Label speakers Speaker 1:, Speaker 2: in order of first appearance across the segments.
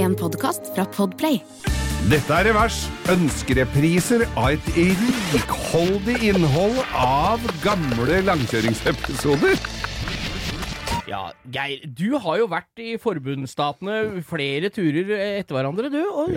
Speaker 1: en podkast fra Podplay.
Speaker 2: Dette er Revers. Ønskerepriser av et rikholdig innhold av gamle langkjøringsepisoder.
Speaker 3: Ja, Geir, du har jo vært i forbundsstatene flere turer etter hverandre, du. Og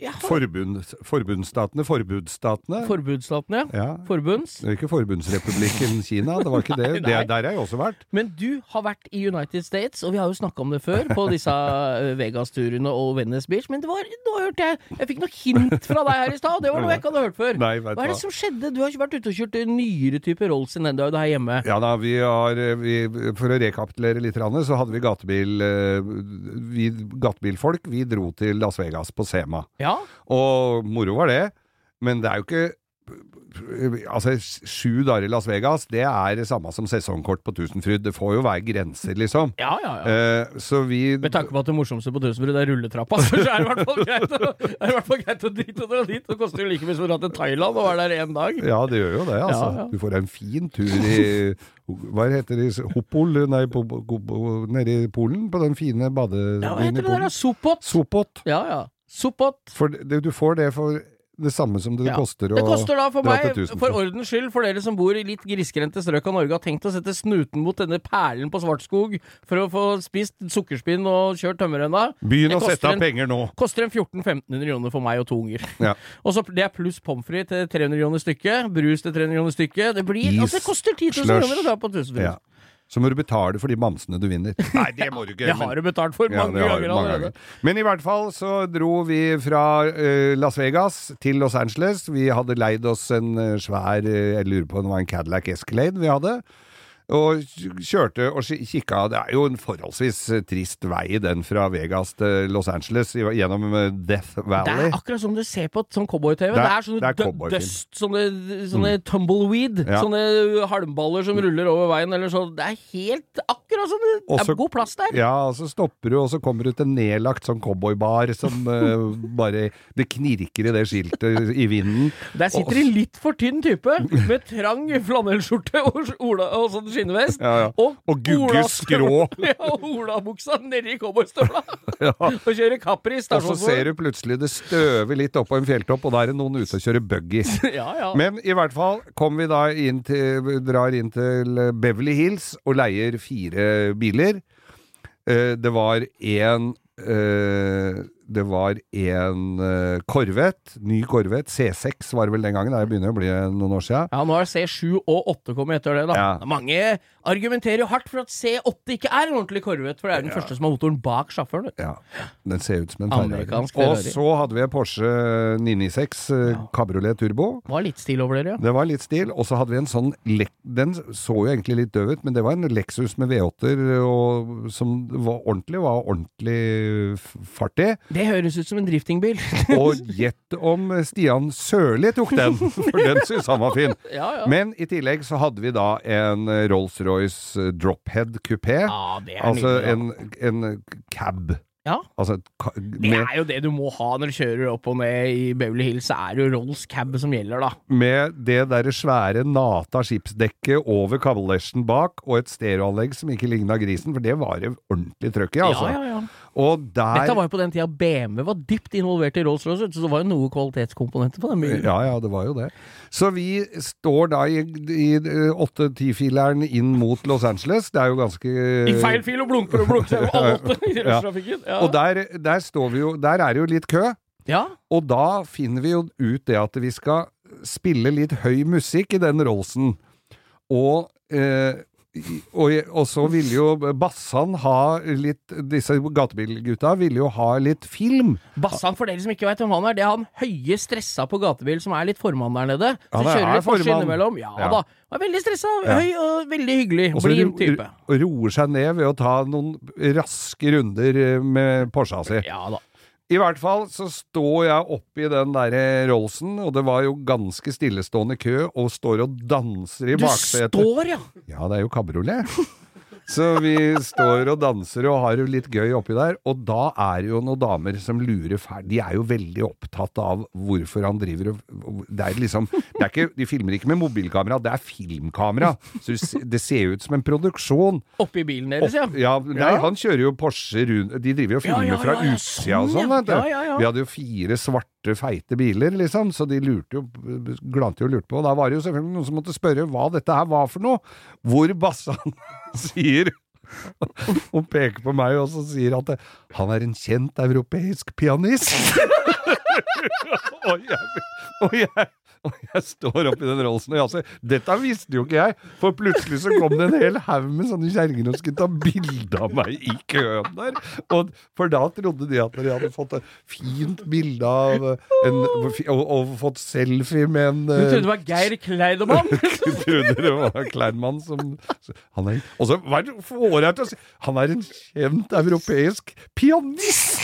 Speaker 3: ja.
Speaker 2: Forbunds, forbundsstatene, forbudsstatene.
Speaker 3: forbundsstatene, ja.
Speaker 2: Ja.
Speaker 3: Forbunds.
Speaker 2: det er ikke Forbundsrepublikken Kina, det var ikke det.
Speaker 3: Nei, nei.
Speaker 2: det der har jeg også vært.
Speaker 3: Men du har vært i United States, og vi har jo snakka om det før på disse eh, Vegas-turene og Venice Beach, men det var, nå hørte jeg Jeg fikk noe hint fra deg her i stad, og det var noe jeg ikke hadde hørt før.
Speaker 2: Nei, vet
Speaker 3: Hva er det
Speaker 2: hva.
Speaker 3: som skjedde? Du har ikke vært ute og kjørt en nyere type Rolls enn den du har her hjemme.
Speaker 2: Ja da, vi har eh, vi, For å rekapitulere litt, grann, så hadde vi gatebil eh, Vi gatebilfolk. Vi dro til Las Vegas på Sema.
Speaker 3: Ja,
Speaker 2: Og moro var det. Men det er jo ikke Altså, sju dager i Las Vegas, det er det samme som sesongkort på Tusenfryd. Det får jo være grenser, liksom.
Speaker 3: ja, ja. ja.
Speaker 2: Eh, så vi
Speaker 3: Med tanke på at det morsomste på Tusenfryd er rulletrappa, så er det i hvert fall greit å- er det i hvert fall greit å drite og dra dit. Det koster jo like mye som å dra til Thailand og være der én dag.
Speaker 2: Ja, det gjør jo det, altså.
Speaker 3: Ja, ja.
Speaker 2: Du får en fin tur i Hva heter det? Hopol? Nei, på, på, på, nede i Polen? På den fine
Speaker 3: Ja, hva
Speaker 2: badebyen i
Speaker 3: heter det der,
Speaker 2: Polen?
Speaker 3: da? Sopot?
Speaker 2: Sopot.
Speaker 3: Ja, ja. Sopot.
Speaker 2: For det, du får det for det samme som det
Speaker 3: Ja.
Speaker 2: koster å
Speaker 3: Det koster da for
Speaker 2: dra
Speaker 3: meg,
Speaker 2: til Tusenfryd.
Speaker 3: for ordens skyld, for dere som bor i litt grisgrendte strøk av Norge, har tenkt å sette snuten mot denne perlen på Svartskog for å få spist sukkerspinn og kjørt tømmerrenna.
Speaker 2: Begynn
Speaker 3: Det
Speaker 2: å sette
Speaker 3: koster en-
Speaker 2: av penger nå!
Speaker 3: Koster en 1400-1500 kroner for meg og to unger.
Speaker 2: Ja.
Speaker 3: Og så Det er pluss pommes frites til 300 kroner stykket, brus til 300 kroner stykket. Det blir,
Speaker 2: Is,
Speaker 3: altså det koster 10 000
Speaker 2: slush.
Speaker 3: kroner å dra på Tusenfryd.
Speaker 2: Ja. Så må du betale for de mamsene du vinner. Nei, det må du ikke.
Speaker 3: Det har du betalt for
Speaker 2: Ja,
Speaker 3: mange
Speaker 2: det har du
Speaker 3: ganger
Speaker 2: mange
Speaker 3: allerede.
Speaker 2: ganger. Men i hvert fall så dro vi fra eh, Las Vegas til Los Angeles. Vi hadde leid oss en eh, svær eh, Jeg lurer på om det var en Cadillac Escalade vi hadde. Og kj- kjørte og sk- kikka Det er jo en forholdsvis eh, trist vei, den fra Vegas til Los Angeles, i- gjennom eh, Death
Speaker 3: Det
Speaker 2: Valley.
Speaker 3: er akkurat som du ser på et sånn cowboy-TV. Det,
Speaker 2: Det er-
Speaker 3: er sånne
Speaker 2: det er
Speaker 3: dø-
Speaker 2: cowboyfilm. Mm.
Speaker 3: dust, sånne, sånne tumbleweed,
Speaker 2: Ja. Mm.
Speaker 3: sånne halmballer som ruller over veien eller sånn. Det er helt akkurat sånn. Det er
Speaker 2: Også-
Speaker 3: god plass der.
Speaker 2: Ja, og så stopper du, og så kommer du til en nedlagt sånn cowboybar som eh, bare Det knirker i det skiltet i vinden.
Speaker 3: Der sitter
Speaker 2: Og-
Speaker 3: en litt for tynn type med trang flanellskjorte og, ola, og sånn skinnvest.
Speaker 2: Ja, ja. Og gugge
Speaker 3: olastøvler-
Speaker 2: skrå.
Speaker 3: Ja, og olabuksa nedi cowboystøvla. Og kjører Capri
Speaker 2: Og så ser du plutselig det støver litt opp på en fjelltopp, og da er det noen ute og kjører buggy.
Speaker 3: Ja, ja.
Speaker 2: Men i hvert fall kom vi da inn til, drar inn til Beverly Hills og leier fire biler. Eh, Det var en eh, Det var en eh, Corvette, ny Corvette, C6 var det vel den gangen, det begynner å bli noen år sia.
Speaker 3: Ja, nå har C7 og 8 kommet etter det, da.
Speaker 2: Ja.
Speaker 3: Mange argumenterer jo hardt for at C8 ikke er en ordentlig korvett, for det er den første som har motoren bak sjåføren. vet du.
Speaker 2: Ja, den ser ut som en Ferrari.
Speaker 3: Amerikansk
Speaker 2: Og
Speaker 3: Ferrari.
Speaker 2: så hadde vi en Porsche 996 eh, Cabriolet Turbo.
Speaker 3: Var litt stil over dere, ja.
Speaker 2: Det var litt stil, og så hadde vi en sånn le- Den så jo egentlig litt døv ut, men det var en Lexus med V8-er og- som var ordentlig, var ordentlig f- fart i.
Speaker 3: Det høres ut som en driftingbil.
Speaker 2: Og gjett om Stian Sørli tok den, for den syntes han var fin.
Speaker 3: ja, ja.
Speaker 2: Men i tillegg så hadde vi da en Rolls-Royce Drophead kupé.
Speaker 3: Ja, det er
Speaker 2: Altså
Speaker 3: nydelig,
Speaker 2: en, en cab.
Speaker 3: Ja.
Speaker 2: Altså et ka-
Speaker 3: Det
Speaker 2: med,
Speaker 3: er jo det du må ha når du kjører opp og ned i Beverly Hills, så er det jo Rolls cab som gjelder, da.
Speaker 2: med det derre svære nata skipsdekket over kavalesjen bak, og et stereoanlegg som ikke ligna grisen, for det var det ordentlig trøkk i, altså.
Speaker 3: Ja, ja, ja.
Speaker 2: Og der
Speaker 3: Dette var jo på den tida BMW var dypt involvert i Rolls-Royce, vet du, så det var jo noe kvalitetskomponenter på den bilen.
Speaker 2: ja, ja, det var jo det. Så vi står da i, i eh, 8-10-fileren inn mot Los Angeles. Det er jo ganske
Speaker 3: I feil fil og blunker og blunker, så er jo alle åtte i
Speaker 2: Eh, Ja.
Speaker 3: rushtrafikken. Ja.
Speaker 2: Og der, der står vi jo Der er det jo litt kø.
Speaker 3: ja.
Speaker 2: Og da finner vi jo ut det at vi skal spille litt høy musikk i den Rollsen. Og, eh, i- og, og så ville jo Bassan ha litt Disse gatebilgutta ville jo ha litt film.
Speaker 3: Bassan, for dere som ikke veit hvem han er, det er han høye, stressa på gatebil som er litt formann der nede. Så
Speaker 2: Han er-
Speaker 3: kjører
Speaker 2: er
Speaker 3: litt Porsche
Speaker 2: formann.
Speaker 3: innimellom. Ja,
Speaker 2: Ja.
Speaker 3: da. Han er veldig stressa, høy og veldig hyggelig.
Speaker 2: Og så
Speaker 3: Blid
Speaker 2: ro-
Speaker 3: type.
Speaker 2: ro- roer seg ned ved å ta noen raske runder eh, med Porscha si.
Speaker 3: Ja da.
Speaker 2: I hvert fall så står jeg oppi den derre Rollsen, og det var jo ganske stillestående kø, og står og danser i
Speaker 3: Du
Speaker 2: baksetet.
Speaker 3: står, ja!
Speaker 2: Ja, det er jo kabriolet. Så vi står og danser og har det litt gøy oppi der, og da er det jo noen damer som lurer fælt. De er jo veldig opptatt av hvorfor han driver og Det er liksom det er ikke, De filmer ikke med mobilkamera, det er filmkamera. Så du se- det ser jo ut som en produksjon.
Speaker 3: Oppi bilen deres, ja.
Speaker 2: Ja, nei, han kjører jo Porsche rundt De driver jo og
Speaker 3: Ja,
Speaker 2: filmer
Speaker 3: ja,
Speaker 2: fra
Speaker 3: ja, ja,
Speaker 2: utsida og
Speaker 3: sånn,
Speaker 2: sånn,
Speaker 3: ja.
Speaker 2: vet du.
Speaker 3: Ja, ja, ja.
Speaker 2: Vi hadde jo fire svarte, feite biler, liksom, så de lurte jo, glante jo og lurte på. Og da var det jo selvfølgelig noen som måtte spørre hva dette her var for noe. Hvor Bassan sier og peker på meg og så sier at det, han er en kjent europeisk pianist. og, jeg, og, jeg, og jeg står oppi den rollsen og jazzer. Dette visste jo ikke jeg, for plutselig så kom det en hel haug med sånne kjerringer og skulle ta bilde av meg i køen der. Og, for da trodde de at de hadde fått et fint bilde av en, og, og fått selfie med en
Speaker 3: Du trodde det var Geir Kleidemann?
Speaker 2: du trodde det var Kleinmann som han er, Og så hva er det- får jeg til å si Han er en kjent europeisk pianist!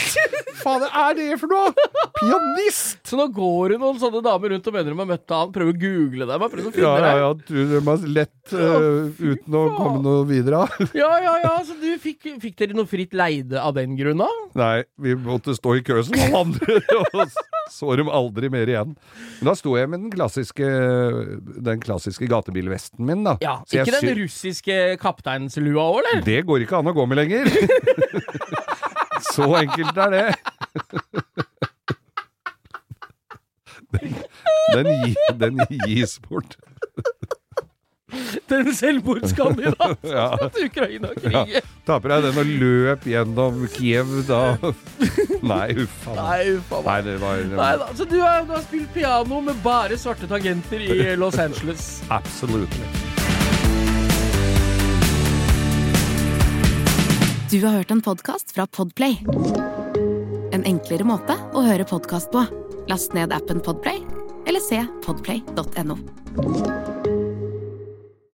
Speaker 2: Faen, er det for noe?! Pianist!
Speaker 3: Så nå går det noen sånne damer rundt og mener de har møtt han, prøver å google deg, bare prøver å finne
Speaker 2: Ja, ja,
Speaker 3: deg.
Speaker 2: ja, tror de er lett eh, uten å komme noe videre.
Speaker 3: Ja, ja, ja, så du fikk, fikk dere noe fritt leide av den grunn av?
Speaker 2: Nei, vi måtte stå i kø som alle andre, og så dem aldri mer igjen. Men da sto jeg med den klassiske, den klassiske gatebilvesten min, da.
Speaker 3: Ja,
Speaker 2: Så jeg
Speaker 3: ikke
Speaker 2: sy-
Speaker 3: den russiske kapteinslua òg, eller?
Speaker 2: Det går ikke an å gå med lenger. Så enkelt er det. Den, den, gi- den gis bort.
Speaker 3: Den selvmordskandidaten
Speaker 2: Ja.
Speaker 3: til Ukraina-krigen.
Speaker 2: Taper jeg den og løp gjennom Kiev da Nei, uff a meg.
Speaker 3: Nei, uff a meg.
Speaker 2: Nei, det var, det
Speaker 3: Nei
Speaker 2: var
Speaker 3: da, så du har, du har spilt piano med bare svarte tangenter i Los Angeles.
Speaker 2: Absolutely.
Speaker 1: Du har hørt en podcast fra Podplay En enklere måte å høre podcast på Last ned appen Podplay Eller se podplay.no